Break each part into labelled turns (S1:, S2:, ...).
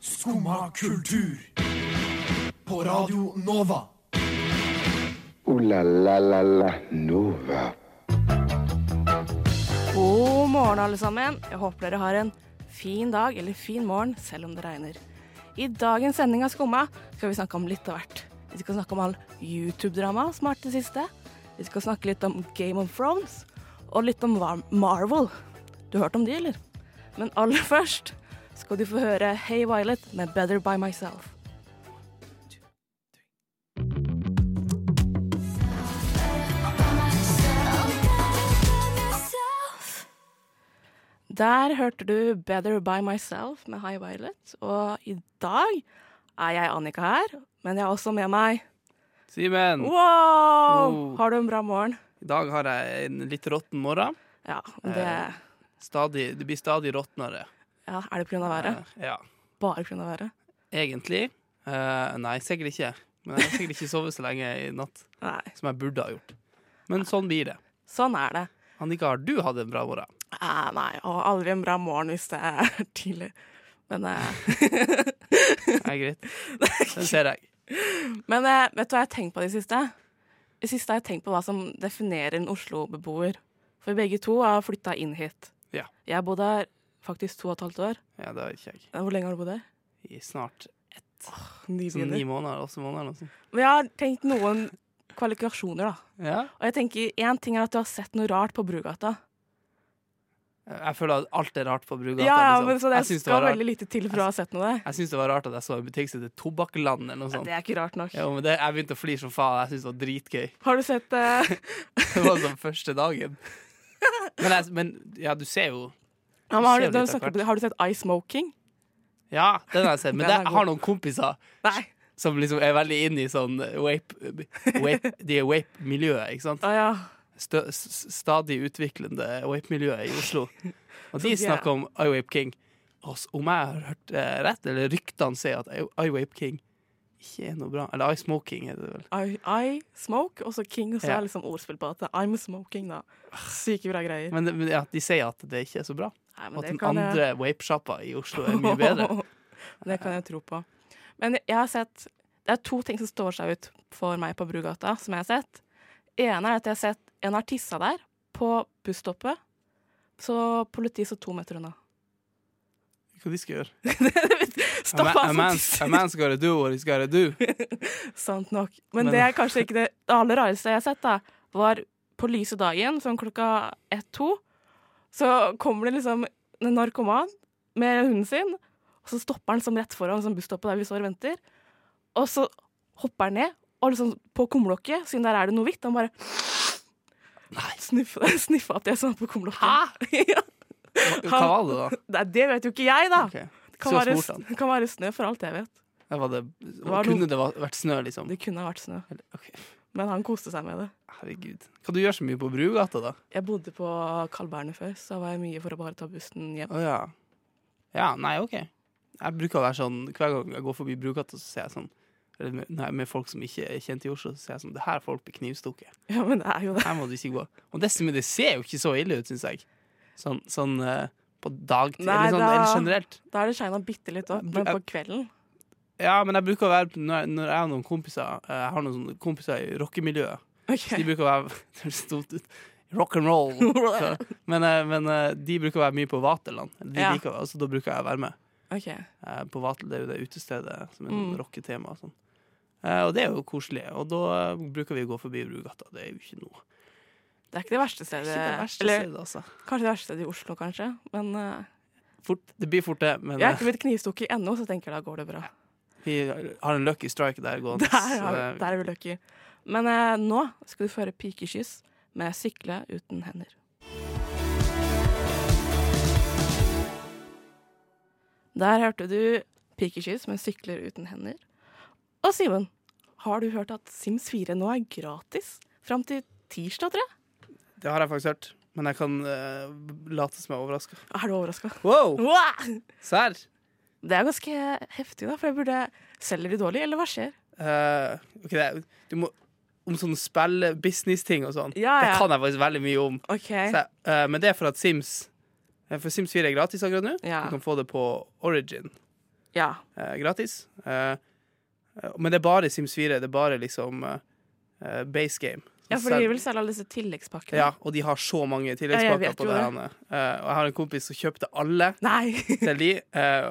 S1: Skumma kultur. På Radio Nova.
S2: Ooh la la la la Nova.
S3: God morgen, alle sammen. Jeg håper dere har en fin dag eller fin morgen, selv om det regner. I dagens sending av Skumma skal vi snakke om litt av hvert. Vi skal snakke om all YouTube-drama som har vært det siste. Vi skal snakke litt om Game of Thrones, og litt om Var- Marvel. Du hørte om de, eller? Men aller først skal du få høre Hey Violet med Better By Myself. Der hørte du Better By Myself med High Violet. Og i dag er jeg Annika her, men jeg er også med meg
S4: Simen,
S3: Wow!
S4: Oh.
S3: Har du en bra morgen?
S4: i dag har jeg en litt råtten morgen.
S3: Ja, men det
S4: Eh. Stadig, det blir stadig råtnere.
S3: ja, Er det pga. været?
S4: Eh, Ja,
S3: Bare pga. været?
S4: egentlig. Eh, nei, sikkert ikke. Men jeg har sikkert ikke sovet så lenge i natt
S3: Nei.
S4: som jeg burde ha gjort. Men sånn blir det.
S3: Sånn er det.
S4: Annika, har du hatt en bra morgen?
S3: Eh, nei, og aldri en bra morgen hvis det er tidlig. Men, eh,
S4: Er greit. Den ser jeg.
S3: men eh, vet du hva jeg har tenkt på i det siste? I det siste har jeg tenkt på hva som definerer en Oslo-beboer. For begge to har flytta inn hit.
S4: Ja.
S3: Jeg har bodd her faktisk to og et halvt år.
S4: Ja, det har ikke jeg.
S3: Eh, Hvor lenge har du bodd her?
S4: I snart
S3: Ni
S4: sånn ni måneder, åtte måneder eller noe sånt.
S3: Men jeg har tenkt noen kvalifikasjoner, da.
S4: Ja.
S3: Og jeg tenker én ting er at du har sett noe rart på Brugata.
S4: Eh, Jeg føler at alt er rart på Brugata.
S3: Ja, ja,
S4: liksom.
S3: men så det
S4: jeg syns det,
S3: skal
S4: var rart.
S3: veldig lite til for å ha sett noe der.
S4: Jeg synes det var rart at jeg så en butikk som heter Tobakkland eller noe sånt.
S3: Det er ikke rart nok.
S4: Sånn. Jo, men det, jeg begynte å flire som faen. Jeg syntes det var dritgøy.
S3: Har du sett eh,
S4: Det var sånn første dagen. Men, jeg, men ja, du ser jo
S3: ja, men har,
S4: ser
S3: du,
S4: jo
S3: da
S4: litt av
S3: snakker
S4: hvert.
S3: vi om det. har du sett Eye Smoking?
S4: Ja, den har jeg sett. Men
S3: Den
S4: det,
S3: er
S4: jeg har noen kompiser
S3: Nei.
S4: som liksom er veldig inne i sånn wape, wape, de er wape-miljøet, ikke sant?
S3: Å ja.
S4: Stø, s- stadig utviklende wape-miljøet i Oslo. Og de
S3: Så de er-
S4: snakker om iWape King. Og s- om jeg har hørt eh, rett, eller ryktene sier at I- iWape King ikke er noe bra. Eller iSmoking er det vel.
S3: I, I smoke, og så King, og så
S4: Ja.
S3: er liksom ordspill på at det er I'm smoking, da. Syke bra greier.
S4: Men, det- men ja, de sier at det ikke er så bra.
S3: Nei,
S4: Og
S3: men
S4: at
S3: det
S4: den
S3: kan jeg-
S4: andre wape-sjappa i Oslo er mye bedre.
S3: Det kan jeg tro på. Men jeg har sett Det er to ting som står seg ut for meg på Brugata, som jeg har sett. ene er at jeg har sett en artista der, på busstoppet. Så politiet så to meter unna.
S4: Hva de skal gjøre?
S3: Stoppa
S4: a, man, a, man's, a
S3: artister!
S4: man's gotta do what he's gotta do.
S3: altså. Sant nok. Men,
S4: Men-
S3: det er kanskje ikke det det aller rareste jeg har sett, da. Var på lyse dagen, sånn klokka ett-to, så kommer det liksom en narkoman med hunden sin, og så stopper han som rett foran som busstoppet der vi står og venter. Og så hopper han ned, og liksom på kumlokket, siden der er det noe hvitt, han bare snuffa, snuffa opp det som var på kumlokket. ja.
S4: Hva var det, da?
S3: Nei, det vet jo ikke jeg, da.
S4: Ok.
S3: Det kan,
S4: Så
S3: være,
S4: smurt han.
S3: det kan være snø, for alt jeg vet.
S4: Der var det,
S3: var noe-
S4: kunne det va- vært snø, liksom?
S3: Det kunne ha vært snø,
S4: Ok,
S3: men han koste seg med det.
S4: Herregud. Kan du gjøre så mye på Brugata, da?
S3: Jeg bodde på Carl Berner før, så da var jeg mye for å bare ta bussen hjem.
S4: Å ja. Ja, nei, OK. Jeg bruker å være sånn Hver gang jeg går forbi Brugata, så ser jeg sånn eller med, nei, med folk som ikke er kjent i Oslo, så ser jeg sånn Det her folk blir knivstukket.
S3: Ja, men det er jo det.
S4: Her må du ikke gå. Og dessuten, det ser jo ikke så ille ut, syns jeg. Sånn, sånn eh, på dagtid.
S3: Nei,
S4: Eller sånn
S3: da-
S4: eller generelt.
S3: Da er det shina bitte litt opp, men på kvelden
S4: Ja, men jeg bruker å være Når, når jeg har noen kompiser eh, Jeg har noen sånne kompiser i rockemiljøet. Så de
S3: Ok.
S4: bruker å være Det høres dumt ut. Rock and roll. Så, men, eh, men eh, de bruker å være mye på Vaterland. De
S3: Ja.
S4: liker, altså, da bruker jeg å være med.
S3: ok.
S4: Eh, På Vatel, det er jo det utestedet som er
S3: Mm.
S4: sånn rocketema og sånn. Eh, Og det er jo koselig. Og da eh, bruker vi å gå forbi Brugata. Det er jo ikke noe.
S3: Det er ikke det verste
S4: Det er
S3: stedet.
S4: ikke det verste
S3: Eller
S4: stedet, altså.
S3: kanskje det verste stedet i Oslo, kanskje. Men eh,
S4: Fort, det blir fort, det. Men
S3: jeg
S4: eh,
S3: er ikke blitt knivstukket ennå, så jeg tenker da går det bra.
S4: vi har en lucky strike der gående.
S3: Der, har,
S4: så, eh,
S3: der er vi lucky. Men eh, nå skal du få høre pikekyss med sykle uten hender. Der hørte du pikekyss med sykler uten hender. Og Simen, har du hørt at Sims 4 nå er gratis? Fram til tirsdag, tror jeg?
S4: Det har jeg faktisk hørt. Men jeg kan eh, late som jeg er overraska.
S3: Er du overraska?
S4: Wow!
S3: Wow!
S4: Serr?
S3: Det er ganske heftig, da. For jeg burde Selger de dårlig, eller hva skjer?
S4: Eh, ok, det, er- du må Om sånne spill, business-ting og sånn.
S3: Ja, ja.
S4: Det kan jeg faktisk veldig mye om.
S3: OK.
S4: Så, jeg- eh, men det er for at Sims eh, For Sims 4 er gratis akkurat nå.
S3: Ja.
S4: Du kan få det på Origin.
S3: Ja.
S4: eh, gratis. Eh, eh, men det er bare Sims 4. Det er bare liksom eh, eh, base game.
S3: ja, for de vil selge alle disse tilleggspakkene.
S4: ja, og de har så mange
S3: Ja, jeg
S4: tilleggspakker
S3: vet
S4: på
S3: jo
S4: det.
S3: det.
S4: Anne. Eh, og jeg har en kompis som kjøpte alle
S3: Nei!
S4: til de. eh,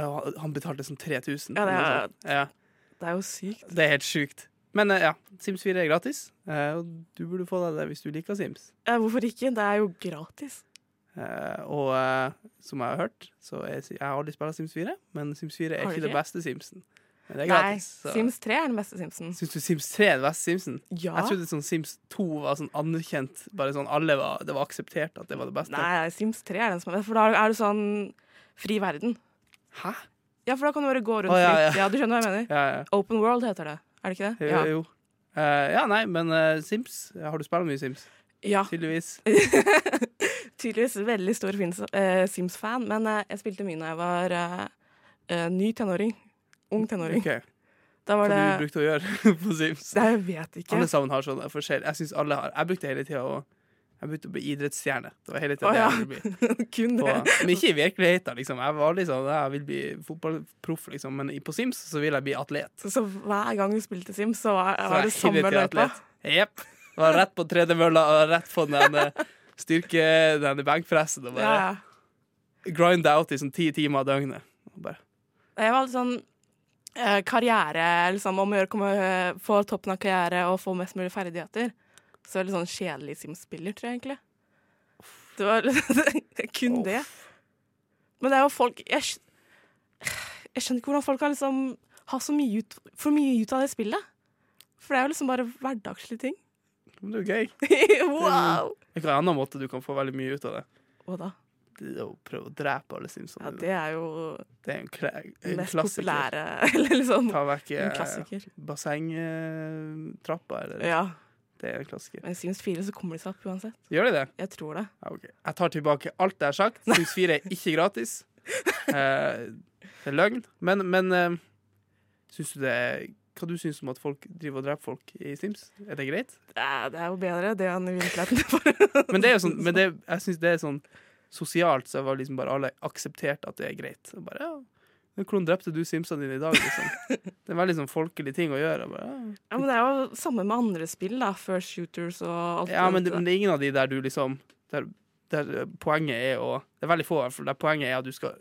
S4: og han betalte sånn 3000.
S3: Ja, det
S4: eller noe
S3: er-
S4: sånt. ja,
S3: Det er jo sykt.
S4: det er helt sjukt. Men eh, ja, Sims 4 er gratis, eh, og du burde få deg det hvis du liker Sims.
S3: Ja, hvorfor ikke? Det er jo gratis.
S4: Eh, og eh, som jeg har hørt, så er, Si- jeg har aldri spilt Sims 4, men Sims 4 er
S3: Har du
S4: ikke det
S3: ikke?
S4: beste Simsen. Men det er
S3: Nei,
S4: gratis. så-
S3: Sims 3 er den beste Simsen.
S4: Syns du Sims 3 er det beste Simsen?
S3: Ja.
S4: Jeg trodde sånn Sims 2 var sånn anerkjent. Bare sånn alle var, Det var akseptert at det var det beste.
S3: Nei, Sims 3 er den som er best, for da er du sånn fri verden.
S4: Hæ?
S3: Ja, for da kan du bare gå rundt
S4: Å, ja, ja.
S3: fritt. Ja, du skjønner hva jeg mener.
S4: Ja, ja.
S3: Open World heter det, er det ikke det?
S4: Jo,
S3: Ja.
S4: jo. Eh, ja, nei, men eh, Sims Har du spilt mye Sims?
S3: ja.
S4: Tydeligvis.
S3: Tydeligvis veldig stor Fins- eh, Sims-fan, men eh, jeg spilte mye da jeg var eh, eh, ny tenåring. Ung tenåring.
S4: Ok,
S3: Da
S4: Hva
S3: var
S4: du
S3: det
S4: brukte å gjøre på Sims?
S3: Nei, jeg vet ikke.
S4: Alle sammen har sånn forskjell. Jeg synes alle har Jeg brukte hele tida å Jeg begynte å bli idrettsstjerne. Det var hele tiden
S3: Å,
S4: det
S3: ja.
S4: jeg ville bli.
S3: Kun
S4: Og,
S3: det.
S4: men ikke i virkeligheten, liksom. Jeg var liksom Jeg vil bli fotballproff, liksom. Men i- på Sims så vil jeg bli atlet.
S3: Så, så hver gang du spilte Sims, så var,
S4: Så
S3: var det
S4: jeg
S3: samme
S4: hiver til
S3: løypa.
S4: atlet. Jepp. Var rett på tredemølla og rett på den eh, styrke, den benkpressen.
S3: Ja,
S4: Og bare
S3: ja.
S4: grind out i sånn ti timer av døgnet. Og bare,
S3: Jeg var litt sånn eh, karriere, liksom, om å gjøre komme eh, få toppen av karriere og få mest mulig ferdigheter. Så litt sånn kjedelig Sims-spiller, tror jeg egentlig. Det var kun det. Men det er jo folk jeg, skj- jeg skjønner ikke hvordan folk kan liksom ha så mye ut, for mye ut av det spillet. For det er jo liksom bare hverdagslige ting.
S4: Men det er jo gøy.
S3: Mm. wow!
S4: Det er en annen måte du kan få veldig mye ut av det.
S3: Hva da?
S4: Det er å prøve å drepe alle Simpsons.
S3: Ja, det er jo
S4: det er en, kla-
S3: den
S4: en
S3: mest
S4: klassiker.
S3: populære Eller liksom
S4: Ta vekk
S3: en
S4: eh,
S3: klassiker.
S4: bassengtrappa, eller
S3: Ja.
S4: Det er en klassiker.
S3: Men i Sims 4 så kommer de seg opp uansett.
S4: Gjør de det?
S3: Jeg tror det.
S4: Ja, ok. Jeg tar tilbake alt jeg har sagt. Sims 4 er ikke gratis. Eh, det er løgn. Men, men eh, syns du det er Hva du syns om at folk driver og dreper folk i Sims? Er det greit?
S3: Det er, det er jo bedre det enn i virkeligheten. For.
S4: Men det er jo sånn men det, jeg syns det er sånn sosialt, så var liksom bare alle akseptert at det er greit. Og bare, ja, men Hvordan drepte du Simsene dine i dag? Liksom? Det er en veldig sånn folkelig ting å gjøre. og Bare, ja.
S3: Ja, men det er jo samme med andre spill, da. First Shooters og alt
S4: Ja, men det,
S3: det
S4: men det er ingen av de der du liksom Der, der eh, poenget er å Det er veldig få, i hvert fall, der poenget er at du skal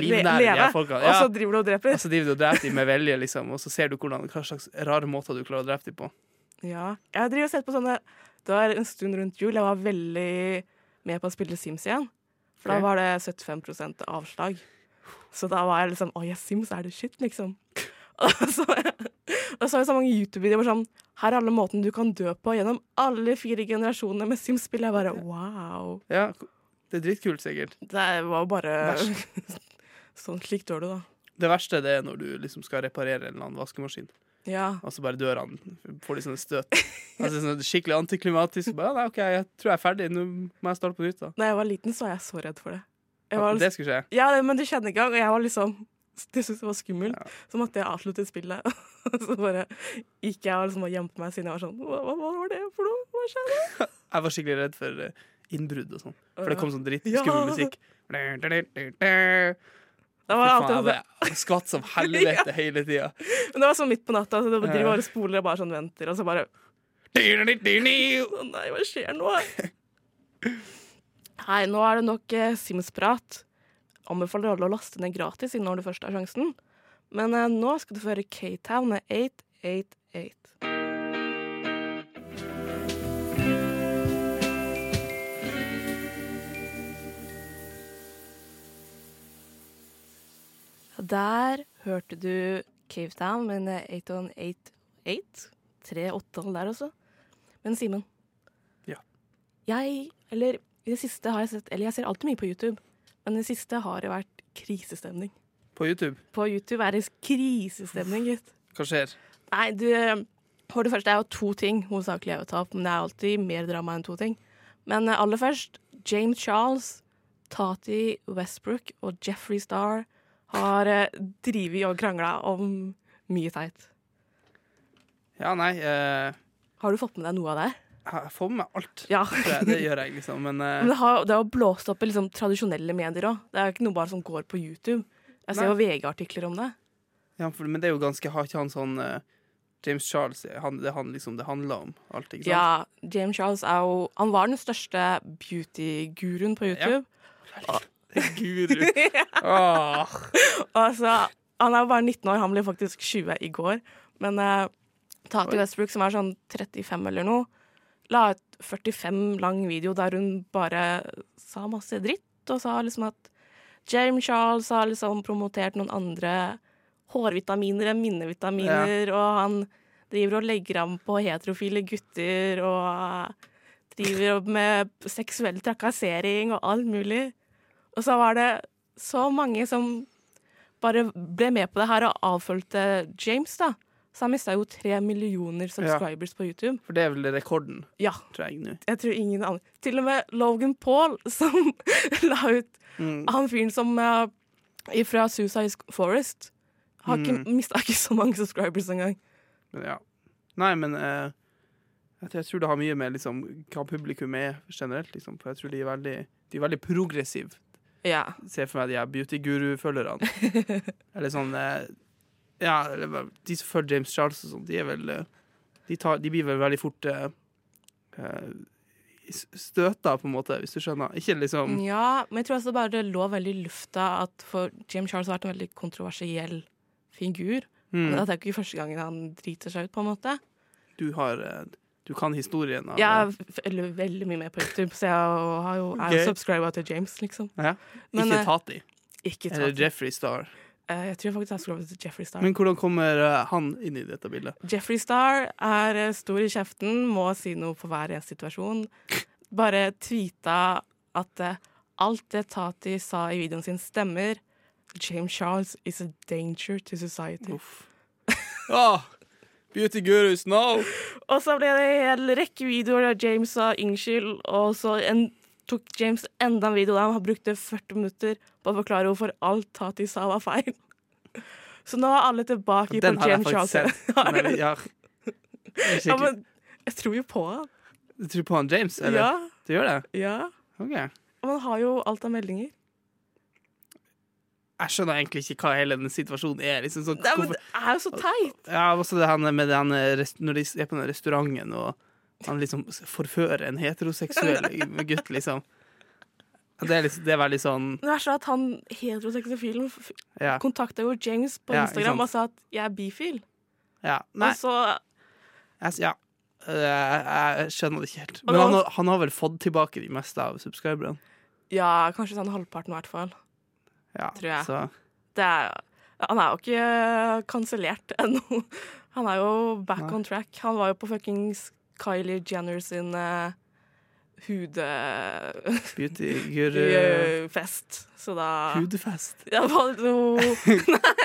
S4: livnære de her folka.
S3: Og
S4: Ja, Altså-
S3: så driver du og dreper.
S4: og så driver du og dreper dem med vilje, liksom, og så ser du hvordan, hva slags rare måter du klarer å drepe dem på.
S3: Ja. Jeg driver og ser på sånne Det var en stund rundt jul jeg var veldig med på å spille Sims igjen. For
S4: Ok.
S3: da var det 75 avslag. Så da var jeg liksom Å ja, Sims, er det shit, liksom? Og så og så er det så mange YouTube-videoer hvor sånn Her er alle måtene du kan dø på gjennom alle fire generasjonene med Sims-spill. Jeg bare wow.
S4: Ja, det er dritkult, sikkert.
S3: Det var jo bare Sånn slik dør du, da.
S4: Det verste det er når du liksom skal reparere en eller annen vaskemaskin,
S3: Ja.
S4: og så bare dør han. Får de sånne støt. Altså sånn Skikkelig antiklimatisk. Bare, ja, nei, OK, jeg tror jeg er ferdig, nå må jeg starte på nytt, da.
S3: Da jeg var liten, så var jeg så redd for det. Jeg var,
S4: At Det skulle skje.
S3: ja, men du kjenner i gang, og jeg var liksom Det syntes jeg var skummelt. Så måtte jeg avslutte spillet. Og så bare gikk jeg og liksom og gjemte meg, siden jeg var sånn Hva, hva var det for noe? Hva skjedde?
S4: Jeg var skikkelig redd for eh, innbrudd og sånn. For det kom sånn dritt
S3: Ja.
S4: skummel musikk. sånn
S3: Det
S4: Fy
S3: var,
S4: faen,
S3: alltid,
S4: jeg
S3: sånn-
S4: bare skvatt som helvete hele tida.
S3: men det var sånn midt på natta, så det
S4: Ja.
S3: driver bare og spoler og bare sånn venter, og så bare Å nei, hva skjer nå? Nei, nå er det nok eh, Sims-prat. Anbefaler alle å laste ned gratis siden når du først har sjansen. Men eh, nå skal du få høre K-Town med 888. Der hørte du Cave Town med 8188. Tre åttetall der også. Men Simen.
S4: Ja.
S3: Jeg, eller i det siste har jeg sett Eller jeg ser alltid mye på YouTube, men i det siste har det vært krisestemning.
S4: På YouTube.
S3: På YouTube er det krisestemning, gitt.
S4: Hva skjer?
S3: Nei, du For det første er jo to ting hovedsakelig jeg vil ta opp, men det er alltid mer drama enn to ting. Men eh, aller først, James Charles, Tati Westbrook og Jeffrey Star har eh, drevet og krangla om mye teit.
S4: Ja, nei eh,
S3: Har du fått med deg noe av det?
S4: Jeg får med meg alt.
S3: Ja.
S4: tror jeg. Det gjør jeg, liksom. Men eh,
S3: Men det har, det har blåst opp i liksom, tradisjonelle medier òg. Det er jo ikke noe bare som går på YouTube. Jeg ser jo VG-artikler om det.
S4: Ja, for, men det er jo ganske Har ikke han sånn eh, James Charles han, Det er han liksom det handler om alt, ikke sant?
S3: Ja, James Charles er jo Han var den største beauty-guruen på YouTube.
S4: Guru. Åh.
S3: Altså, han er jo bare 19 år, han ble faktisk 20 i går. Men eh, Tati
S4: Oi.
S3: Westbrook, som er sånn 35 eller noe, la ut 45 lang video der hun bare sa masse dritt, og sa liksom at James Charles har liksom promotert noen andre hårvitaminer enn minnevitaminer, og han driver og legger an på heterofile gutter, og driver opp med seksuell trakassering og alt mulig. Og så var det så mange som bare ble med på det her og avfølgte James, da. Så han mista jo tre millioner subscribers på YouTube.
S4: For det er vel rekorden,
S3: Ja,
S4: tror jeg nå.
S3: jeg tror ingen andre Til og med Logan Paul, som la ut
S4: Mm.
S3: Han fyren som uh, fra Suicide Forest, har ikke,
S4: Mm.
S3: mista ikke så mange subscribers engang.
S4: Men ja. Nei, men eh, jeg, tror, jeg tror det har mye med liksom, hva publikum er generelt, liksom. For jeg tror de er veldig, de er veldig progressive.
S3: Ja.
S4: Se for meg de her beauty-guru-følgerne. Eller sånn eh, Ja, eller hva- de som følger James Charles og sånn, de er vel eh, de, tar, de blir vel veldig fort eh, eh, s- støta, på en måte, hvis du skjønner. Ikke liksom
S3: ja, men jeg tror også det bare lå veldig i lufta at for Jim Charles har vært en veldig kontroversiell figur. Men
S4: mm,
S3: Dette er jo ikke første gangen han driter seg ut, på en måte.
S4: Du har eh, Du kan historien av eh,
S3: Jeg er f- eller veldig mye med på YouTube, så jeg har jo, er
S4: Ok.
S3: jo subscriba til James, liksom.
S4: Ja.
S3: Men,
S4: Ikke
S3: eh,
S4: Tati.
S3: Ikke
S4: Eller
S3: Tati.
S4: Jeffrey Star.
S3: Eh, jeg tror faktisk jeg har subscriba til Jeffrey Star.
S4: Men hvordan kommer eh, han inn i dette bildet?
S3: Jeffrey Star er eh, stor i kjeften, må si noe på hver eneste situasjon. Bare tweeta at eh, alt det Tati sa i videoen sin, stemmer. James Charles is a danger to society.
S4: Uff. Ah, beauty gurus, no!
S3: Og så ble det en hel rekke videoer der James sa unnskyld, og så en, tok James enda en video der han brukte 40 minutter på å forklare hvorfor alt Tati sa var feil. Så nå er alle tilbake
S4: Den
S3: på
S4: har jeg
S3: James
S4: faktisk
S3: Charles.
S4: sett.
S3: Har
S4: Men,
S3: du?
S4: ja. Jeg,
S3: Ja,
S4: skikkelig-
S3: men jeg tror jo på han.
S4: du tror på han James, eller?
S3: Ja,
S4: Du gjør det?
S3: ja.
S4: Ok.
S3: Og man har jo alt av meldinger.
S4: Jeg skjønner egentlig ikke hva hele den situasjonen er. Liksom, sånn,
S3: Nei, men
S4: hvorfor-
S3: det er jo så teit!
S4: Ja, også det her med den, eh, når de er på den restauranten og han liksom forfører en heteroseksuell gutt, liksom. Det er, liksom, det er veldig sånn
S3: Det verste er at han heteroseksufilen
S4: Ja.
S3: kontakta jo James på
S4: Ja, ikke
S3: Instagram
S4: sant.
S3: og sa at 'jeg er bifil'.
S4: ja nei,
S3: Og så
S4: jeg, ja. Eh, Jeg skjønner det ikke helt. Men
S3: det
S4: han,
S3: var-
S4: har- han har vel fått tilbake de meste av subscriberne.
S3: Ja, kanskje sånn halvparten i hvert fall.
S4: Ja,
S3: Tror jeg.
S4: Så
S3: det er, han er jo ikke kansellert ennå. Han er jo back on track. Han var jo på fuckings Kylie Jenner sin eh, hude
S4: beauty guru
S3: hudefest. Så da
S4: Hudefest.
S3: Ja, hva- jo,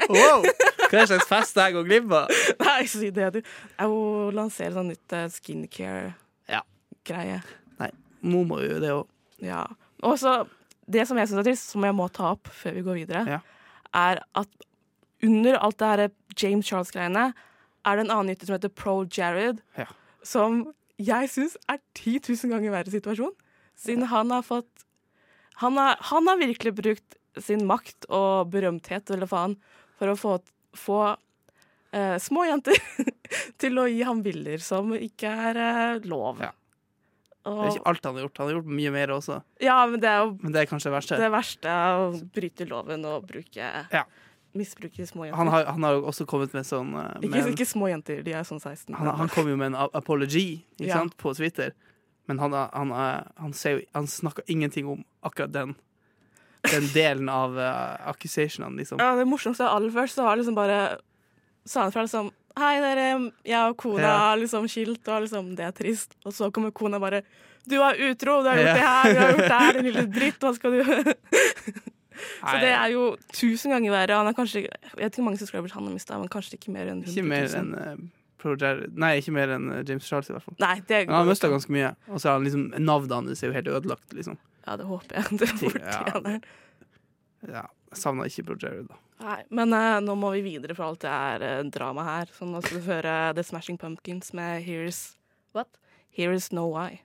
S4: Wow! Hva er slags fest jeg går glipp av?
S3: Nei, ikke si det, du. Jeg må lansere sånn nytt eh,
S4: Ja.
S3: skincare-greie.
S4: Nei, nå må jo det òg.
S3: Ja. Og så Det som jeg syns er trist, som jeg må ta opp før vi går videre,
S4: Ja.
S3: er at under alt det her James Charles-greiene er det en annen nytte som heter Pro Jared,
S4: Ja.
S3: som jeg syns er 10 000 ganger verre situasjon. Siden han har fått han har, han har virkelig brukt sin makt og berømthet eller faen, for å få, få eh, små jenter til å gi ham bilder som ikke er eh, lov.
S4: Ja. Det er
S3: Og,
S4: ikke alt han har gjort. Han har gjort mye mer også,
S3: ja, men det er jo
S4: men det er kanskje det verste.
S3: det verste er å bryte loven og bruke
S4: Ja.
S3: misbruke små jenter.
S4: Han har, han har jo også kommet med sånn eh,
S3: ikke,
S4: med en,
S3: ikke små jenter, de er sånn 16.
S4: han, han kom jo med en a- apology ikke
S3: Ja.
S4: sant, på Twitter, men han, han, eh, han, ser jo, han snakker ingenting om akkurat den Den delen av uh, accusationene, liksom.
S3: ja, det morsomste av alle først, så var det liksom bare Sa han fra liksom Hei, dere, jeg og kona
S4: Ja.
S3: har liksom skilt, og liksom, det er trist. Og så kommer kona bare Du er utro, du har gjort
S4: Ja.
S3: det her, du har gjort det her, din lille dritt, hva skal du Så
S4: Nei,
S3: det er jo tusen ganger verre. Han har kanskje Jeg vet ikke hvor mange subscribers han har mista, men kanskje ikke mer enn 100
S4: ikke mer enn eh, Pro Jared Nei, ikke mer enn eh, James Charles, i hvert fall.
S3: Nei, det
S4: Men han har
S3: går
S4: mista
S3: ikke.
S4: ganske mye, og så er han liksom navnet hans er jo helt ødelagt, liksom.
S3: Ja, det håper jeg. Det
S4: Ting- ja.
S3: fortjener han.
S4: Ja, Savna ikke Pro Jared, da.
S3: Nei, men eh, nå må vi videre for alt det er eh, drama her. Så nå skal du høre The Smashing Pumpkins med Here's What? Here's No Why.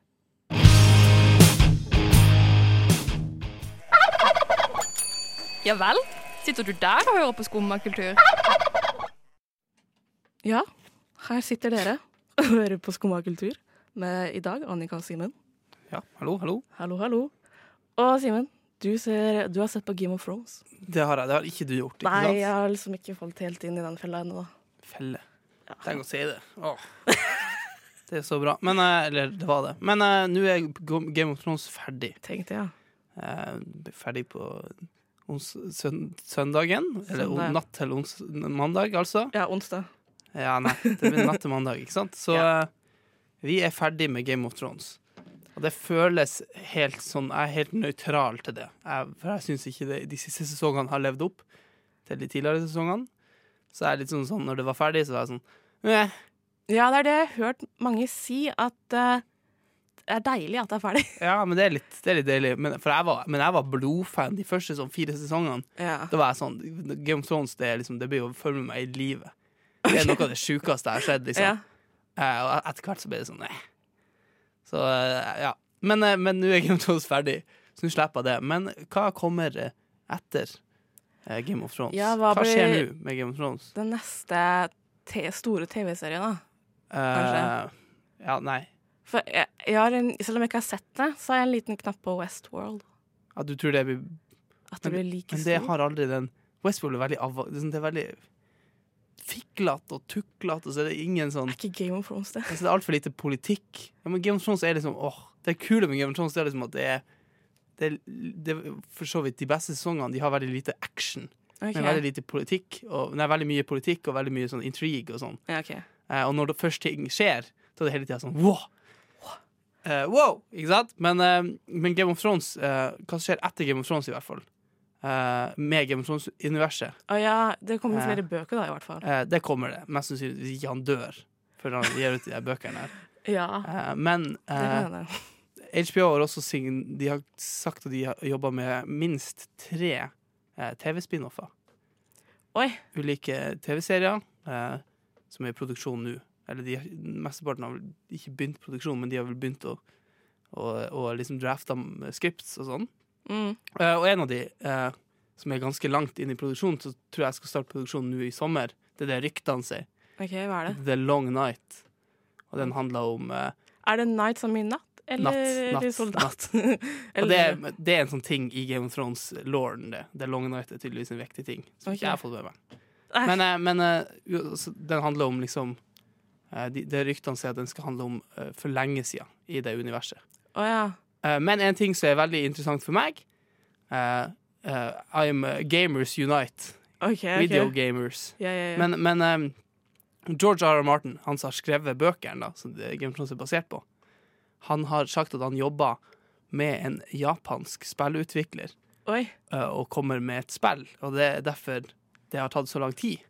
S3: Ja vel?
S5: Sitter du der og hører på skummakultur?
S3: Ja, her sitter dere og hører på Skumma kultur med i dag Annika og Simen.
S4: Ja, hallo, hallo.
S3: Hallo, hallo. Og Simen, du, ser- du har sett på Game of Thrones.
S4: Det har jeg. Det har ikke du gjort. Ikke
S3: Nei, jeg
S4: sant?
S3: har liksom ikke falt helt inn i den fella ennå. da.
S4: Felle. Tenk å si det. Åh. Det er så bra. Men, eh, eller det var det. Men eh, nå er Go- Game of Thrones ferdig.
S3: Tenkte jeg.
S4: Eh, ferdig på ons søn søndagen. Eller
S3: Søndag.
S4: natt til ons mandag, altså.
S3: Ja, onsdag.
S4: Ja, nei. Det blir natt til mandag, ikke sant? Så
S3: Ja.
S4: eh, vi er ferdig med Game of Thrones. Og det føles helt sånn Jeg er helt nøytral til det. Jeg, for jeg syns ikke det, de siste sesongene har levd opp til de tidligere sesongene. Så jeg er litt sånn sånn når det var ferdig, så var jeg sånn «Meh».
S3: Ja, det er det jeg har hørt mange si, at eh, det er deilig at det er ferdig.
S4: Ja, men det er litt, det er litt deilig. Men, for jeg var, men jeg var blodfan de første sånn fire sesongene.
S3: Ja.
S4: Da var jeg sånn Game of Thrones det, er liksom, det blir jo å følge med meg i livet. Det er noe av det sjukeste jeg har sett. Liksom.
S3: Ja.
S4: Eh, og etter hvert så ble det sånn eh. Så eh, ja. Men eh, men nå er Game of Thrones ferdig, så nå slipper jeg det. Men hva kommer eh, etter eh, Game of Thrones?
S3: Ja,
S4: hva
S3: hva
S4: skjer
S3: blir-
S4: nå med Game of Thrones?
S3: Den neste te store TV-serien, da.
S4: Eh,
S3: Kanskje.
S4: ja, nei.
S3: For jeg, jeg har en, selv om jeg ikke har sett det, så har jeg en liten knapp på Westworld.
S4: Ja, du tror det blir
S3: At det blir like
S4: Men det
S3: stor.
S4: har aldri den Westworld er veldig ava- det er sånn- Det er veldig fiklete og tuklete, og så er det ingen sånn
S3: Er ikke Game of Thrones det?
S4: Altså, det er altfor lite politikk. Ja, men Game of Thrones er liksom åh, Det kule med Game of Thrones det er liksom at det er det, er- det, er For så vidt, de beste sesongene de har veldig lite action.
S3: Ok.
S4: Men veldig lite politikk og, Nei, veldig mye politikk og veldig mye sånn intrigue og sånn.
S3: Ja, ok.
S4: Eh, og når det først ting skjer, så er det hele tida sånn wow! Eh, wow! Ikke sant? Men, eh, men Game of Thrones eh, Hva som skjer etter Game of Thrones, i hvert fall? Eh, med Game of Thrones-universet.
S3: Å ja, det kommer
S4: Eh.
S3: flere bøker da, i hvert fall.
S4: Eh, det kommer det. Mest sannsynlig hvis ikke han dør før han gir ut de der bøkene her.
S3: Ja,
S4: Eh, men
S3: det
S4: eh,
S3: kan hende.
S4: HBO har også sign, de har sagt at de har jobba med minst tre eh, TV-spin-offer.
S3: Oi.
S4: Ulike TV-serier eh, som er i produksjon nå. Eller de, har- Mesteparten har vel ikke begynt produksjon, men de har vel begynt å, å, å liksom drafte m- scripts og sånn.
S3: Mm.
S4: Eh, og en av de eh, som er ganske langt inn i produksjon, så tror jeg skal starte produksjon nå i sommer. Det er det ryktene sier.
S3: Ok, hva er det?
S4: The Long Night. Og den handler om eh,
S3: Er det night som i natt? Eller,
S4: Natt, natt,
S3: eller soldat?
S4: Og
S3: eller,
S4: det, er- det er en sånn ting i Game of Thrones-lauren. Det Det er Long Night er tydeligvis en viktig ting. Som
S3: Ok.
S4: ikke jeg har fått med meg.
S3: Nei.
S4: Men, eh, men eh, jo, altså, den handler om liksom eh, de- Det ryktene sier at den skal handle om eh, for lenge siden i det universet.
S3: Å ja.
S4: Eh, Men en ting som er veldig interessant for meg eh, eh, I'm eh, Gamers Unite.
S3: Ok, ok.
S4: Video gamers.
S3: Ja, ja, ja.
S4: Men, men eh, George R. R. Martin, han som har skrevet bøkene da, som det Game of Thrones er basert på, han har sagt at han jobber med en japansk spillutvikler
S3: Oi.
S4: eh, og kommer med et spill. Og det er derfor det har tatt så lang tid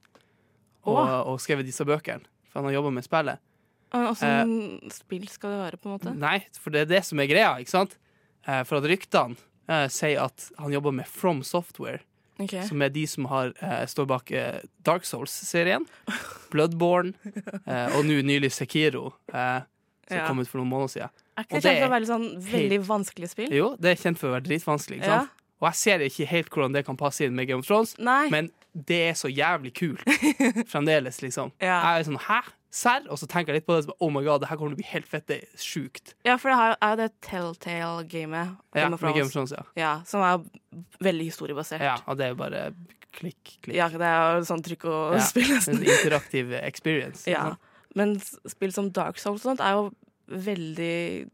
S4: å,
S3: Åh.
S4: å skrive disse bøkene. For han har jobba med spillet. Eh,
S3: Åssen spill skal det være, på en måte?
S4: Nei, for det er det som er greia, ikke sant? Eh, for at ryktene eh, sier at han jobber med From Software,
S3: Ok.
S4: som er de som har, eh, står bak eh, Dark Souls-serien, Bloodborne eh, og nå nylig Sekiro, eh, som
S3: Ja.
S4: kom ut for noen måneder siden.
S3: Er
S4: og
S3: ikke det
S4: det
S3: kjent for å
S4: er
S3: være litt sånn veldig vanskelig spill?
S4: Jo, det er kjent for å være dritvanskelig, ikke
S3: Ja.
S4: sant? Og jeg ser ikke helt hvordan det kan passe inn med Game of Thrones,
S3: Nei.
S4: men det er så jævlig kult fremdeles, liksom.
S3: Ja.
S4: Jeg er sånn, hæ? Serr? Og så tenker jeg litt på det, og så bare, oh my god, det her kommer til å bli helt fett, det er sjukt.
S3: Ja, for det har- er jo det Telltale-gamet.
S4: Ja,
S3: Game
S4: med
S3: of Thrones.
S4: Game of Thrones, ja.
S3: Ja, som er veldig historiebasert.
S4: ja. Og det er jo bare klikk, klikk.
S3: Ja, det er jo sånn trykk og
S4: Ja,
S3: spill,
S4: En
S3: nesten.
S4: interaktiv experience. liksom.
S3: Ja.
S4: ikke sant?
S3: Mm-hmm. Men s- spill som Dark Souls og sånt er jo veldig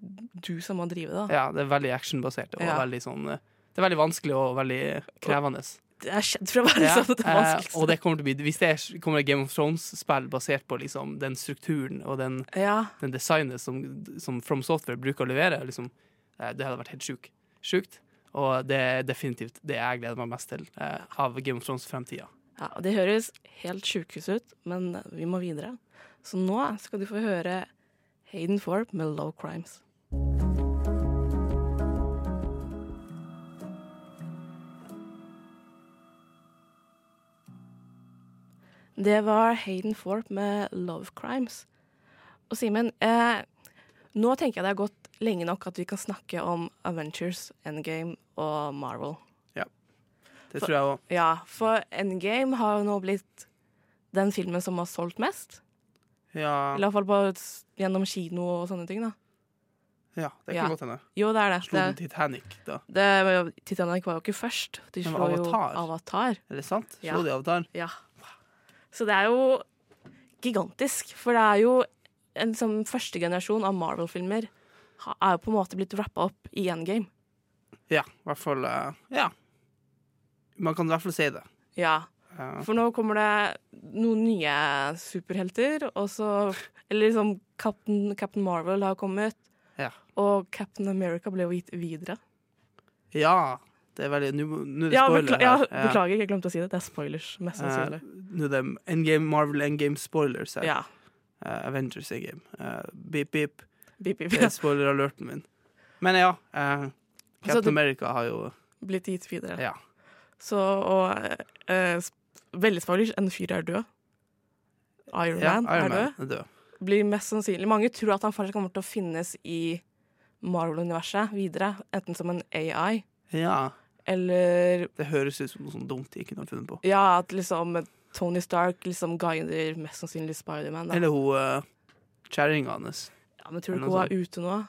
S3: du som må drive, da.
S4: ja, det er veldig actionbasert, og
S3: Ja.
S4: veldig sånn eh, Det er veldig vanskelig og veldig krevende.
S3: Det er kjent for å være
S4: Ja,
S3: sånn at det er
S4: eh,
S3: vanskelig.
S4: og det kommer til å bli Hvis det er, kommer et Game of Thrones-spill basert på liksom, den strukturen og den,
S3: Ja,
S4: den designet som, som From Software bruker å levere, liksom, eh, det hadde vært helt sjuk. sjukt. Og det er definitivt det jeg gleder meg mest til eh, av Game of Thrones-fremtida.
S3: ja, og det høres helt sjukehus ut, men vi må videre. Så nå skal du få høre Hayden Thorpe med Low Crimes. Det var Hayden Thorpe med Love Crimes. Og Simen, eh, nå tenker jeg det har gått lenge nok at vi kan snakke om Avengers, Endgame og Marvel.
S4: Ja. Det tror jeg òg.
S3: Ja, for Endgame har jo nå blitt den filmen som har solgt mest. I
S4: Ja,
S3: hvert fall på, gjennom kino og sånne ting. da.
S4: ja, det kan
S3: Ja.
S4: godt hende.
S3: Jo, det er det.
S4: Slo den
S3: det,
S4: Titanic, da?
S3: det Titanic var jo ikke først. De
S4: Den
S3: slo
S4: var Avatar.
S3: jo Avatar.
S4: Er det sant? Slo
S3: Ja.
S4: de Avatar?
S3: Ja. Så det er jo gigantisk. For det er jo en sånn første generasjon av Marvel-filmer ha- er jo på en måte blitt rappa opp i Endgame.
S4: Ja, i hvert fall eh, Ja. Man kan i hvert fall si det. Eh,
S3: Ja.
S4: Ja.
S3: For nå kommer det noen nye superhelter, og så Eller liksom Captain, Captain Marvel har kommet,
S4: Ja.
S3: og Captain America ble jo gitt videre.
S4: ja det er veldig Nå nå er det
S3: Ja,
S4: spoiler
S3: bekla ja,
S4: her. Ja.
S3: beklager, jeg glemte å si det. Det er spoilers, mest
S4: Eh,
S3: sannsynlig.
S4: Nå er det endgame, Marvel Endgame spoilers her.
S3: Ja.
S4: Eh, Avengers Endgame. Eh, beep, beep.
S3: Bip, bip.
S4: Det er spoiler-alerten min. Men ja. eh,
S3: Så
S4: Captain
S3: du-
S4: America har jo
S3: Blitt gitt videre.
S4: Ja.
S3: Så, og eh, sp- Veldig spoilers. En fyr er død. Iron
S4: ja
S3: Man
S4: Iron
S3: er død.
S4: Man er død.
S3: Blir mest sannsynlig Mange tror at han faktisk kommer til å finnes i Marvel-universet videre, enten som en AI
S4: Ja.
S3: eller
S4: Det høres ut som noe sånn dumt de ikke kunne ha funnet på.
S3: Ja, at liksom Tony Stark liksom guider mest sannsynlig Spiderman. da.
S4: Eller hun eh, kjerringa hans.
S3: Ja, men tror du
S4: eller
S3: ikke
S4: noe
S3: hun er ute nå?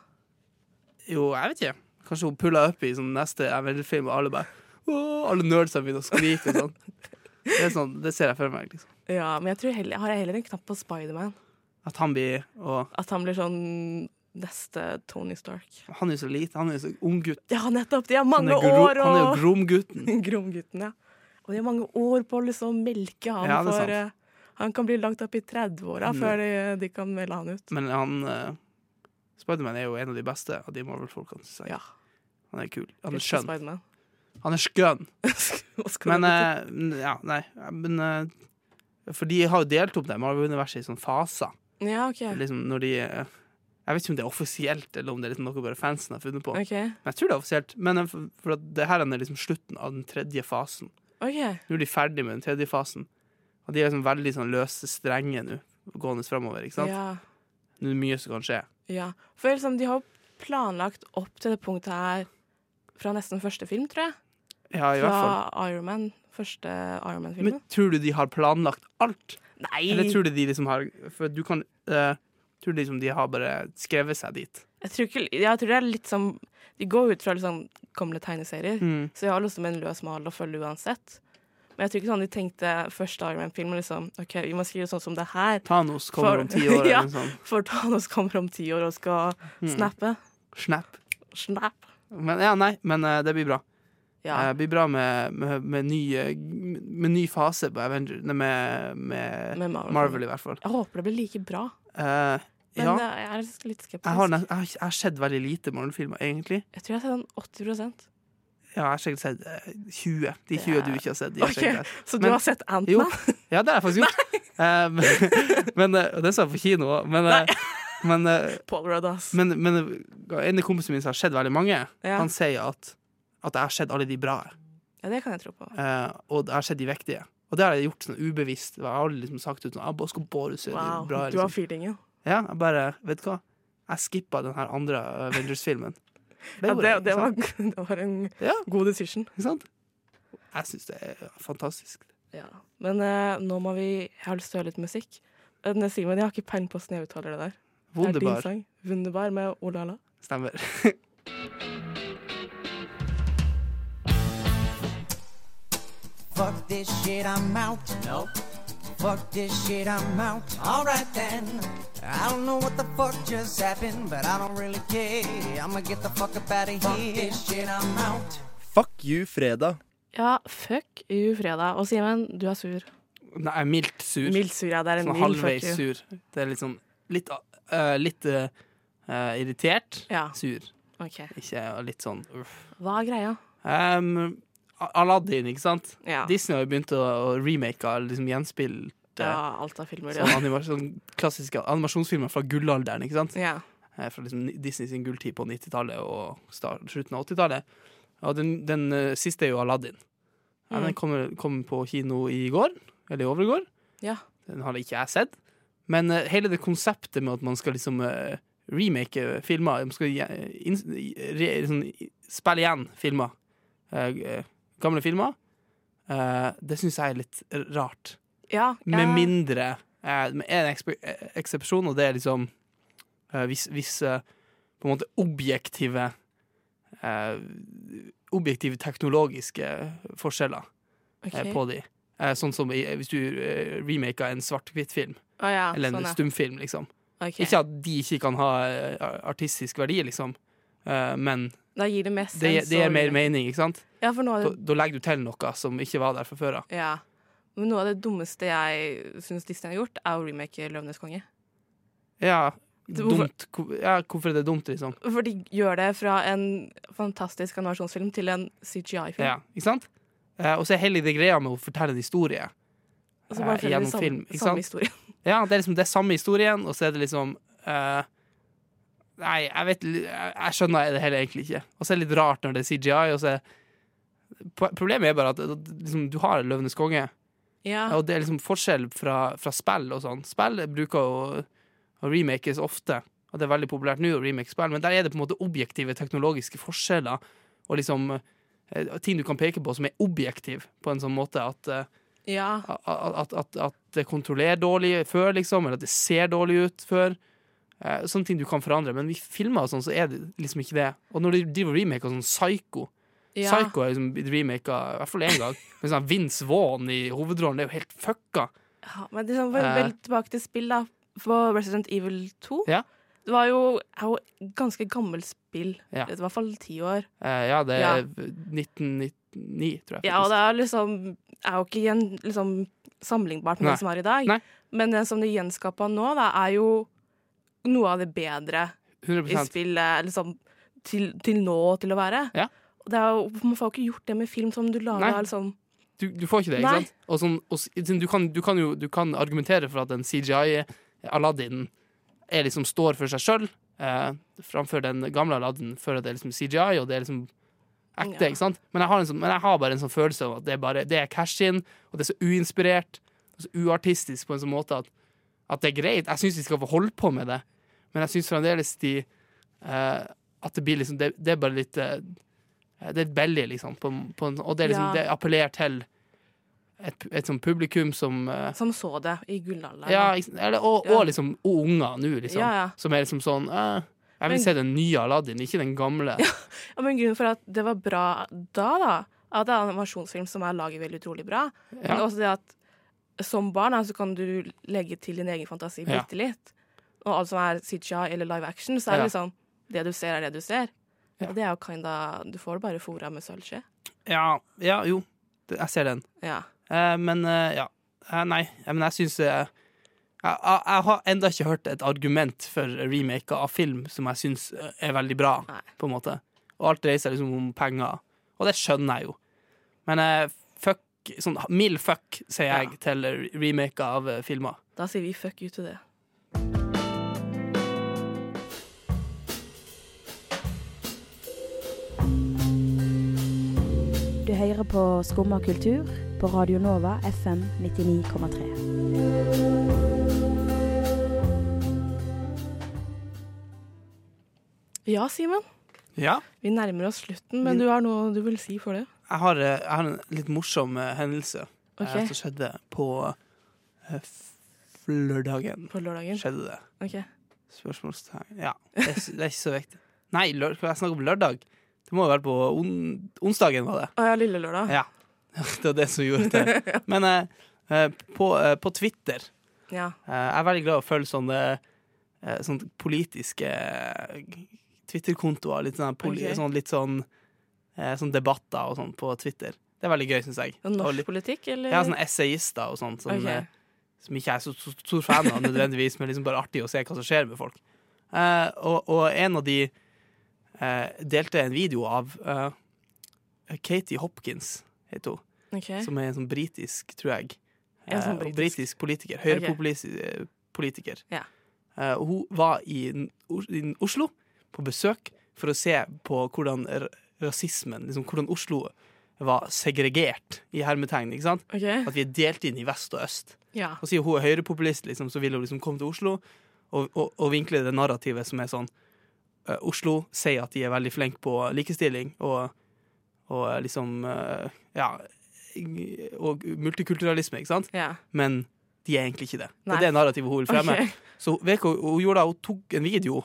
S4: Jo, jeg vet ikke. Kanskje hun pulla opp i sånn neste Avenger-film, og alle bare «Åh», Alle nerdsene begynner å skrike og sånn. Det, er sånn. det ser jeg for meg. liksom
S3: Ja, men jeg tror heller, har jeg heller en knapp på Spiderman.
S4: At han blir Og
S3: At han blir sånn neste Tony Stark.
S4: han er jo så lite, han er jo så ung gutt.
S3: Ja, nettopp! De har
S4: Han
S3: mange
S4: er, gro,
S3: år
S4: han er jo
S3: og
S4: Gromgutten.
S3: Gromgutten, ja. Og de har mange år på å liksom melke han
S4: Ja, det er sant.
S3: for eh, Han kan bli langt opp i 30-åra
S4: Mm.
S3: før de, de kan melde han ut.
S4: Men han uh, Spiderman er jo en av de beste av de Marvel-folkene. synes jeg.
S3: Ja.
S4: Han er kul. Han er
S3: elsker
S4: skjønn.
S3: Spiderman.
S4: Han er skjønn.
S3: Og så kommer
S4: Men
S3: det
S4: eh, n- Ja, nei. Men eh, For de har jo delt opp det Marvel-universet i sånne faser.
S3: til- Ja, OK.
S4: Liksom når de eh, Jeg vet ikke om det er offisielt, eller om det er liksom noe bare fansen har funnet på.
S3: OK.
S4: Men jeg tror det er offisielt. Men eh, for, for at det her er liksom slutten av den tredje fasen.
S3: ok.
S4: Nå er de ferdig med den tredje fasen. Og de er liksom veldig sånn løse strenger nå, gående framover. Ikke sant?
S3: Ja.
S4: Nå er det mye som kan skje.
S3: Ja, for liksom, de har jo planlagt opp til det punktet her fra nesten første film, tror jeg.
S4: Ja, i hvert fall.
S3: Fra Iron Man, første Iron
S4: Men
S3: Man-filmen.
S4: tror du de har planlagt alt?
S3: Nei!
S4: Eller tror du de liksom har For du kan eh, Tror du liksom de har bare skrevet seg dit?
S3: Jeg tror, ikke, jeg tror det er litt som De går ut fra liksom gamle tegneserier,
S4: Mm.
S3: så jeg har liksom en løs mal å følge uansett. Men jeg tror ikke sånn de tenkte første Iron Man-film liksom, OK, vi må skrive sånn som det her.
S4: Thanos kommer
S3: For-
S4: om ti år,
S3: Ja.
S4: eller noe sånt.
S3: For Thanos kommer om ti år og skal
S4: Mm.
S3: snappe.
S4: Snap.
S3: Snap.
S4: Men ja, nei, men eh, det blir bra.
S3: Ja.
S4: Eh, Det blir bra med, med, med, ny, eh, med ny fase på Avenger Nei, med, med,
S3: Med Marvel.
S4: Marvel. i hvert fall.
S3: Jeg håper det blir like bra,
S4: Eh,
S3: men
S4: ja.
S3: eh, jeg er litt skeptisk.
S4: Jeg har, nes- jeg har jeg har sett veldig lite Marvel-filmer, egentlig.
S3: jeg tror jeg har sett sånn 80
S4: Ja, jeg har sikkert sett eh, 20. De 20
S3: Ja.
S4: du ikke har sett. De har
S3: Ok,
S4: sikkert sett.
S3: Så du
S4: Men-
S3: har sett
S4: Jo,
S3: Ant-Man?
S4: ja, det har jeg faktisk gjort. Eh, men- men eh, og Den sa jeg på kino òg. Men, eh, men, eh,
S3: Paul Rudd, ass.
S4: men, men eh, en av kompisene mine som har sett veldig mange,
S3: Ja.
S4: han sier at, at jeg har sett alle de bra,
S3: Ja, det kan jeg tro på.
S4: eh, og jeg har sett de viktige. Og det har jeg gjort sånn ubevisst. Jeg har aldri liksom sagt ut sånn «Ah, Skal bare se de
S3: Wow,
S4: bra
S3: du har
S4: liksom.
S3: feelingen.
S4: Ja, jeg bare Vet du hva? Jeg skippa den her andre Avengers-filmen. Det
S3: Ja,
S4: gjorde
S3: det,
S4: jeg,
S3: det,
S4: ikke
S3: var,
S4: sant?
S3: det var en
S4: Ja,
S3: god decision.
S4: ikke sant? Jeg syns det er fantastisk.
S3: Men eh, nå må vi Jeg har lyst til å høre litt musikk. Men, eh, Simen, jeg har ikke peiling på åssen jeg uttaler det der. Det er din
S4: Wunderbar.
S3: sang. Wunderbar med Olala.
S4: Stemmer.
S6: Fuck this shit, I'm out. Nope. Fuck this shit, I'm out. Alright then. I don't know what the fuck just happened, but I don't really care. I'ma get the fuck up out of here. Fuck this shit, I'm out.
S1: Fuck you fredag.
S3: Ja, fuck you, fredag. Og Simen, du er sur.
S4: Nei, jeg er mildt sur.
S3: Mildt sur, ja. Det er en
S4: Sånn
S3: mild fuck
S4: halvveis
S3: you.
S4: sur. Det er litt sånn Litt, eh, litt eh, eh, irritert.
S3: Ja.
S4: Sur.
S3: Ok.
S4: Ikke litt sånn uff.
S3: Hva er greia?
S4: Em, A- Aladdin, ikke sant?
S3: Ja.
S4: Disney har jo begynt å, å remake av liksom gjenspilt
S3: ja,
S4: eh,
S3: alt av filmer,
S4: sånn
S3: ja.
S4: anima- sånn klassiske animasjonsfilmer fra gullalderen, ikke sant?
S3: ja.
S4: Eh, Fra liksom ni- Disney sin gulltid på 90-tallet og start, slutten av 80-tallet. Og den, den eh, siste er jo Aladdin. Ja,
S3: Mm.
S4: Den kom, kom på kino i går, eller i overgår.
S3: Ja.
S4: Den har ikke jeg sett. Men eh, hele det konseptet med at man skal liksom eh, remake eh, filmer, man skal gje- liksom, inn- re, sånn, spille igjen filmer, eh, eh, gamle filmer, Eh, det syns jeg er litt rart.
S3: Ja,
S4: Med
S3: ja.
S4: mindre eh, Med en ekspe- eh, eksepsjon, og det er liksom eh, Hvis, hvis eh, på en måte objektive eh, Objektive teknologiske forskjeller eh,
S3: Ok.
S4: på de. Eh, sånn som i, hvis du eh, remaker en svart-hvitt-film,
S3: Å ja,
S4: eller en
S3: sånn, ja.
S4: stumfilm, liksom.
S3: Ok.
S4: Ikke at de ikke kan ha eh, artistisk verdi, liksom, eh, men
S3: Da gir det mest
S4: det, det gir mer
S3: mening.
S4: mening, ikke sant?
S3: Ja, for noe av
S4: Da,
S3: det,
S4: da legger du til noe som ikke var der fra før av.
S3: ja. Men noe av det dummeste jeg syns Disney har gjort, er å remake 'Løvenes konge'.
S4: Ja,
S3: Det- hvorfor-
S4: dumt. Hvor- Ja, hvorfor er det dumt, liksom?
S3: For de gjør det fra en fantastisk animasjonsfilm til en CGI-film.
S4: Ja, ikke sant? Eh, og så er hele det greia med å fortelle en historie.
S3: Og så bare
S4: eh,
S3: følger de
S4: gjennom
S3: samme,
S4: film, ikke sant?
S3: samme historie.
S4: Ja, det er liksom det er samme historien, og så er det liksom eh, Nei, jeg vet li- Jeg jeg skjønner det heller egentlig ikke. Og så er det litt rart når det er CGI, og så er Po- Problemet er bare at eh, liksom, du har Løvenes konge,
S3: Ja.
S4: og det er liksom forskjell fra, fra spill og sånn. Spill bruker å, å remakes ofte, og det er veldig populært nå å remake spill, men der er det på en måte objektive teknologiske forskjeller, og liksom eh, ting du kan peke på som er objektiv, på en sånn måte at eh,
S3: ja.
S4: at, at, at, at det kontrollerer dårlig før, liksom, eller at det ser dårlig ut før. Eh, sånne ting du kan forandre. Men vi filmer og sånn, så er det liksom ikke det. Og når de driver og remaker sånn Psycho
S3: ja.
S4: Psycho er liksom blitt remaka i hvert fall én gang. Med sånn Vince Vaughn i hovedrollen, det er jo helt fucka.
S3: Ja, men liksom, vel,
S4: Eh.
S3: vel tilbake til spill, da. På Resident Evil 2.
S4: Ja.
S3: Det var jo, er jo et ganske gammelt spill.
S4: Ja.
S3: I hvert fall ti år.
S4: Eh, ja, det er
S3: Ja.
S4: 1999, tror jeg.
S3: Ja, og
S4: faktisk.
S3: det er, liksom, er jo ikke gjen, liksom, sammenlignbart med
S4: Nei.
S3: det som er i dag.
S4: Nei.
S3: Men det som de gjenskapa nå, da, er jo noe av det bedre i
S4: 100
S3: spillet liksom, til, til nå til å være.
S4: Ja.
S3: Og Det er jo, man får jo ikke gjort det med film som du lager
S4: Nei.
S3: liksom.
S4: du, du får ikke det, ikke
S3: Nei.
S4: sant? Og sånn, og, s- sånn, du, kan, du kan jo du kan argumentere for at en CGI Aladdin er liksom står for seg sjøl, eh, framfor den gamle Aladdin, før at det er liksom CGI, og det er liksom ekte,
S3: Ja.
S4: ikke sant? Men jeg, har en sånn, men jeg har bare en sånn følelse av at det er, bare, det er cash-in, og det er så uinspirert, og så uartistisk på en sånn måte at, at det er greit. Jeg syns de skal få holde på med det, men jeg syns fremdeles de eh, At det blir liksom Det, det er bare litt eh, Det er billig, liksom, på, på en, og det, er liksom,
S3: Ja.
S4: det appellerer til et, et sånn publikum som eh,
S3: Som så det i gullalderen.
S4: ja, ikke sant? eller, og,
S3: Sånn, Ja.
S4: og liksom og unger nå, liksom.
S3: Ja, ja.
S4: Som er liksom sånn eh,
S3: Men-
S4: Jeg vil se den nye Aladdin, ikke den gamle.
S3: Ja, men grunnen for at det var bra da, da, at det er animasjonsfilm som er laget veldig utrolig bra, men
S4: Ja.
S3: også det at som barn da, så kan du legge til din egen fantasi
S4: Ja.
S3: bitte litt. Og alt som er CGI eller live action, så er
S4: Ja.
S3: det liksom det du ser, er det du ser.
S4: Ja.
S3: Og det er jo kinda Du får det bare i fora med sølvskje.
S4: Ja, ja jo. Det- Jeg ser den.
S3: Ja.
S4: Eh, men eh, ja. Eh, nei, eh, men jeg syns eh, jeg, jeg, jeg har enda ikke hørt et argument for remaker av film som jeg syns er veldig bra.
S3: Nei.
S4: På en måte Og alt dreier seg liksom om penger, og det skjønner jeg jo. Men eh, fuck, sånn mild fuck, sier
S3: Ja.
S4: jeg til remaker av eh, filmer.
S3: Da sier vi fuck you til det.
S7: Du hører på Skumma kultur på Radio Nova FM 99,3.
S3: Ja, Simen.
S4: Ja
S3: Vi nærmer oss slutten, men du har noe du vil si for det?
S4: jeg har, eh, jeg har en litt morsom eh, hendelse eh,
S3: Ok.
S4: som skjedde på eh, f- lørdagen.
S3: På lørdagen?
S4: Skjedde det?
S3: Ok.
S4: Spørsmålstegn. Ja, det er, s- det er ikke så viktig. Nei, lør, jeg snakker om lørdag. Det må jo være på on, onsdagen, var det.
S3: Å ja, lille lørdag.
S4: Ja. Det var det som gjorde det. Men eh, eh, på, eh, på Twitter
S3: Ja.
S4: Eh, Jeg er veldig glad i å følge sånne, eh, sånne politiske eh, Twitter-kontoer. Litt, sånn, poli,
S3: Ok.
S4: sånn, litt sånn, eh, sånn debatter og sånn på Twitter. Det er veldig gøy, syns jeg. Og
S3: Norsk
S4: litt,
S3: politikk, eller?
S4: jeg har sånne essayister og sånn, som,
S3: Ok.
S4: eh, som ikke jeg er så, så stor fan av nødvendigvis, men liksom bare artig å se hva som skjer med folk. Eh, og, og en av de eh, delte en video av eh, Katie Hopkins, heter hun
S3: Ok.
S4: som er en sånn britisk, tror jeg.
S3: En sånn
S4: Eh,
S3: britisk.
S4: britisk politiker. Høyrepopulist eh, politiker.
S3: Ja.
S4: Eh, og hun var i, N- Os- i N- Oslo på besøk for å se på hvordan r- rasismen liksom Hvordan Oslo var segregert, i hermetegn. ikke sant?
S3: Ok.
S4: At vi er delt inn i vest og øst.
S3: Ja.
S4: Og siden hun er høyrepopulist, liksom, så vil hun liksom komme til Oslo og, og, og vinkle det narrativet som er sånn eh, Oslo sier at de er veldig flinke på likestilling og, og eh, liksom eh, ja, og multikulturalisme, ikke sant?
S3: Ja.
S4: men de er egentlig ikke det. Det
S3: Nei.
S4: er det narrativet hun vil fremme.
S3: Ok.
S4: Så vet du hva hun gjorde da? Hun tok en video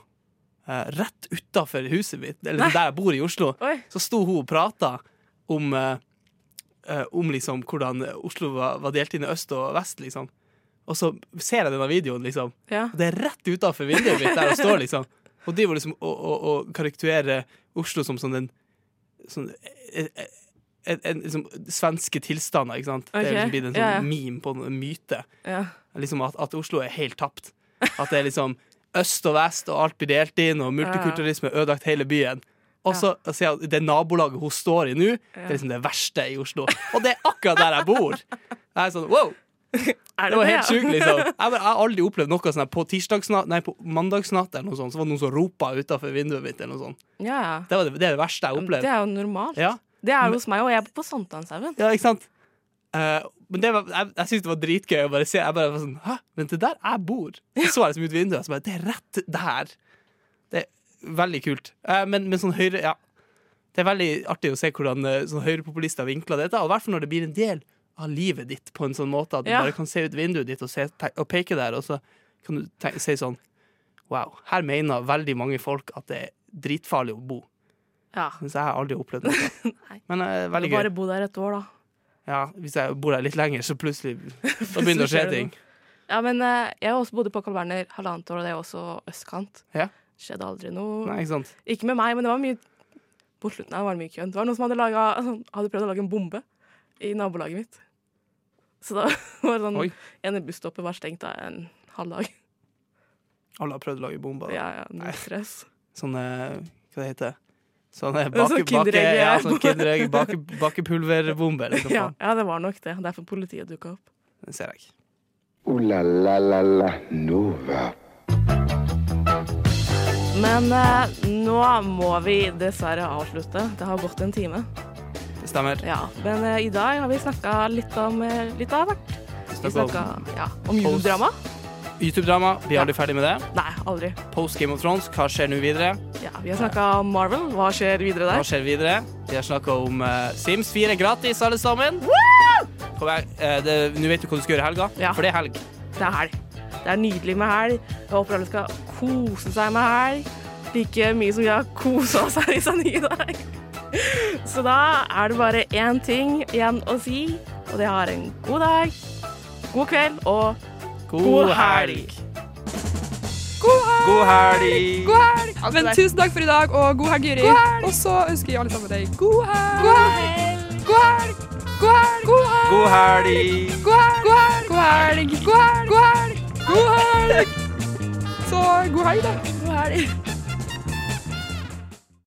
S4: eh, rett utafor huset mitt, eller
S3: Nei.
S4: der jeg bor i Oslo.
S3: Oi.
S4: Så sto hun og prata om, eh, eh, om liksom hvordan Oslo var, var delt inn i øst og vest, liksom. Og så ser jeg denne videoen, liksom.
S3: Ja.
S4: Og det er rett utafor vinduet mitt der hun står, liksom. Hun driver liksom og, og, og karakteriserer Oslo som sånn en sånn, en, en, en, liksom, svenske tilstander, ikke sant. Det
S3: Ok,
S4: er liksom blitt en sånn
S3: ja, ja.
S4: meme på en myte.
S3: ja.
S4: Liksom at, at Oslo er helt tapt. At det er liksom øst og vest, og alt blir delt inn, og multikulturalisme har ødelagt hele byen. Og så ser jeg at det nabolaget hun står i nå, det er liksom det verste i Oslo. Og det er akkurat der jeg bor! Jeg er sånn, wow!
S3: Er
S4: Det var
S3: ja?
S4: helt sjukt, liksom. Jeg, bare, jeg har aldri opplevd noe sånn her på tirsdagsnatt Nei, på mandagsnatt eller noe sånt, så var det noen som ropa utafor vinduet mitt eller noe sånt.
S3: Ja, ja.
S4: Det var det, det, er det verste jeg har
S3: Det
S4: opplevd.
S3: er jo normalt.
S4: Ja.
S3: Det er jo hos meg, og jeg er på Sankthanshaugen.
S4: Ja, ikke sant? Eh, men det var, jeg, jeg syntes det var dritgøy å bare se. Jeg bare var sånn, Hæ, men det der jeg bor? Så så jeg liksom ut vinduet, og så bare Det er rett der! Det er veldig kult. Eh, men, men sånn høyre Ja. Det er veldig artig å se hvordan eh, sånn høyrepopulister vinkler dette, og i hvert fall når det blir en del av livet ditt på en sånn måte at du
S3: Ja.
S4: bare kan se ut vinduet ditt og, se, te- og peke der, og så kan du te- si sånn Wow, her mener veldig mange folk at det er dritfarlig å bo.
S3: Ja.
S4: Så jeg har aldri opplevd noe. Men eh, veldig gøy.
S3: Bare bo der et år, da.
S4: Ja, hvis jeg bor der litt lenger, så plutselig Da begynner det å skje
S3: skjer det
S4: ting.
S3: Ja, men eh, jeg også bodde på Carl Berner halvannet år, og det er også østkant.
S4: Ja.
S3: Skjedde aldri noe.
S4: Nei, ikke sant?
S3: Ikke med meg, men det var mye På slutten her var det mye køen. Det var noen som hadde, laget, altså, hadde prøvd å lage en bombe i nabolaget mitt. Så da var det sånn
S4: Oi.
S3: ene busstoppet var stengt da en halv dag.
S4: Alle har prøvd å lage bomber.
S3: Ja, ja,
S4: Nei.
S3: null stress.
S4: Sånne Hva det heter Sånne
S3: er
S4: bake,
S3: sånn
S4: bake,
S3: Kinderegg,
S4: ja,
S3: ja.
S4: sånn kinderegg, bake, bakepulverbombe, liksom.
S3: Ja,
S4: faen.
S3: ja, det var nok det. Derfor politiet dukka opp.
S4: Det ser jeg.
S2: Ooh la la la la Nova.
S3: Men eh, nå må vi dessverre avslutte. Det har gått en time.
S4: Det stemmer.
S3: Ja, Men eh, i dag har vi snakka litt om eh, litt av hvert. Vi
S4: Snakk
S3: snakka
S4: om
S3: ja, om juledrama.
S4: YouTube-drama. Vi er aldri ferdig med det.
S3: Nei, aldri.
S4: Post Game of Thrones. Hva skjer nå videre?
S3: Ja, vi har snakka om Marvel. Hva skjer videre
S4: Hva
S3: der?
S4: skjer videre? Vi har snakka om eh, Sims 4 gratis, alle sammen. Kom her. Eh, det- Nå vet du hva du skal gjøre i helga,
S3: Ja.
S4: for det er helg.
S3: Det er helg. Det er nydelig med helg. Jeg håper alle skal kose seg med helg. Like mye som vi har kosa seg i seg nye dag. Så da er det bare én ting igjen å si, og det er en god dag, god kveld og God helg.
S5: God helg!
S4: God helg.
S5: God helg! Men tusen takk for i dag, og Altså, god helg, Jyri. Og så ønsker jeg alle sammen deg god helg! God helg! God helg! God helg! God helg!
S4: God helg.
S5: God helg! God helg! God helg! God helg! God helg! Så god helg, da. God helg.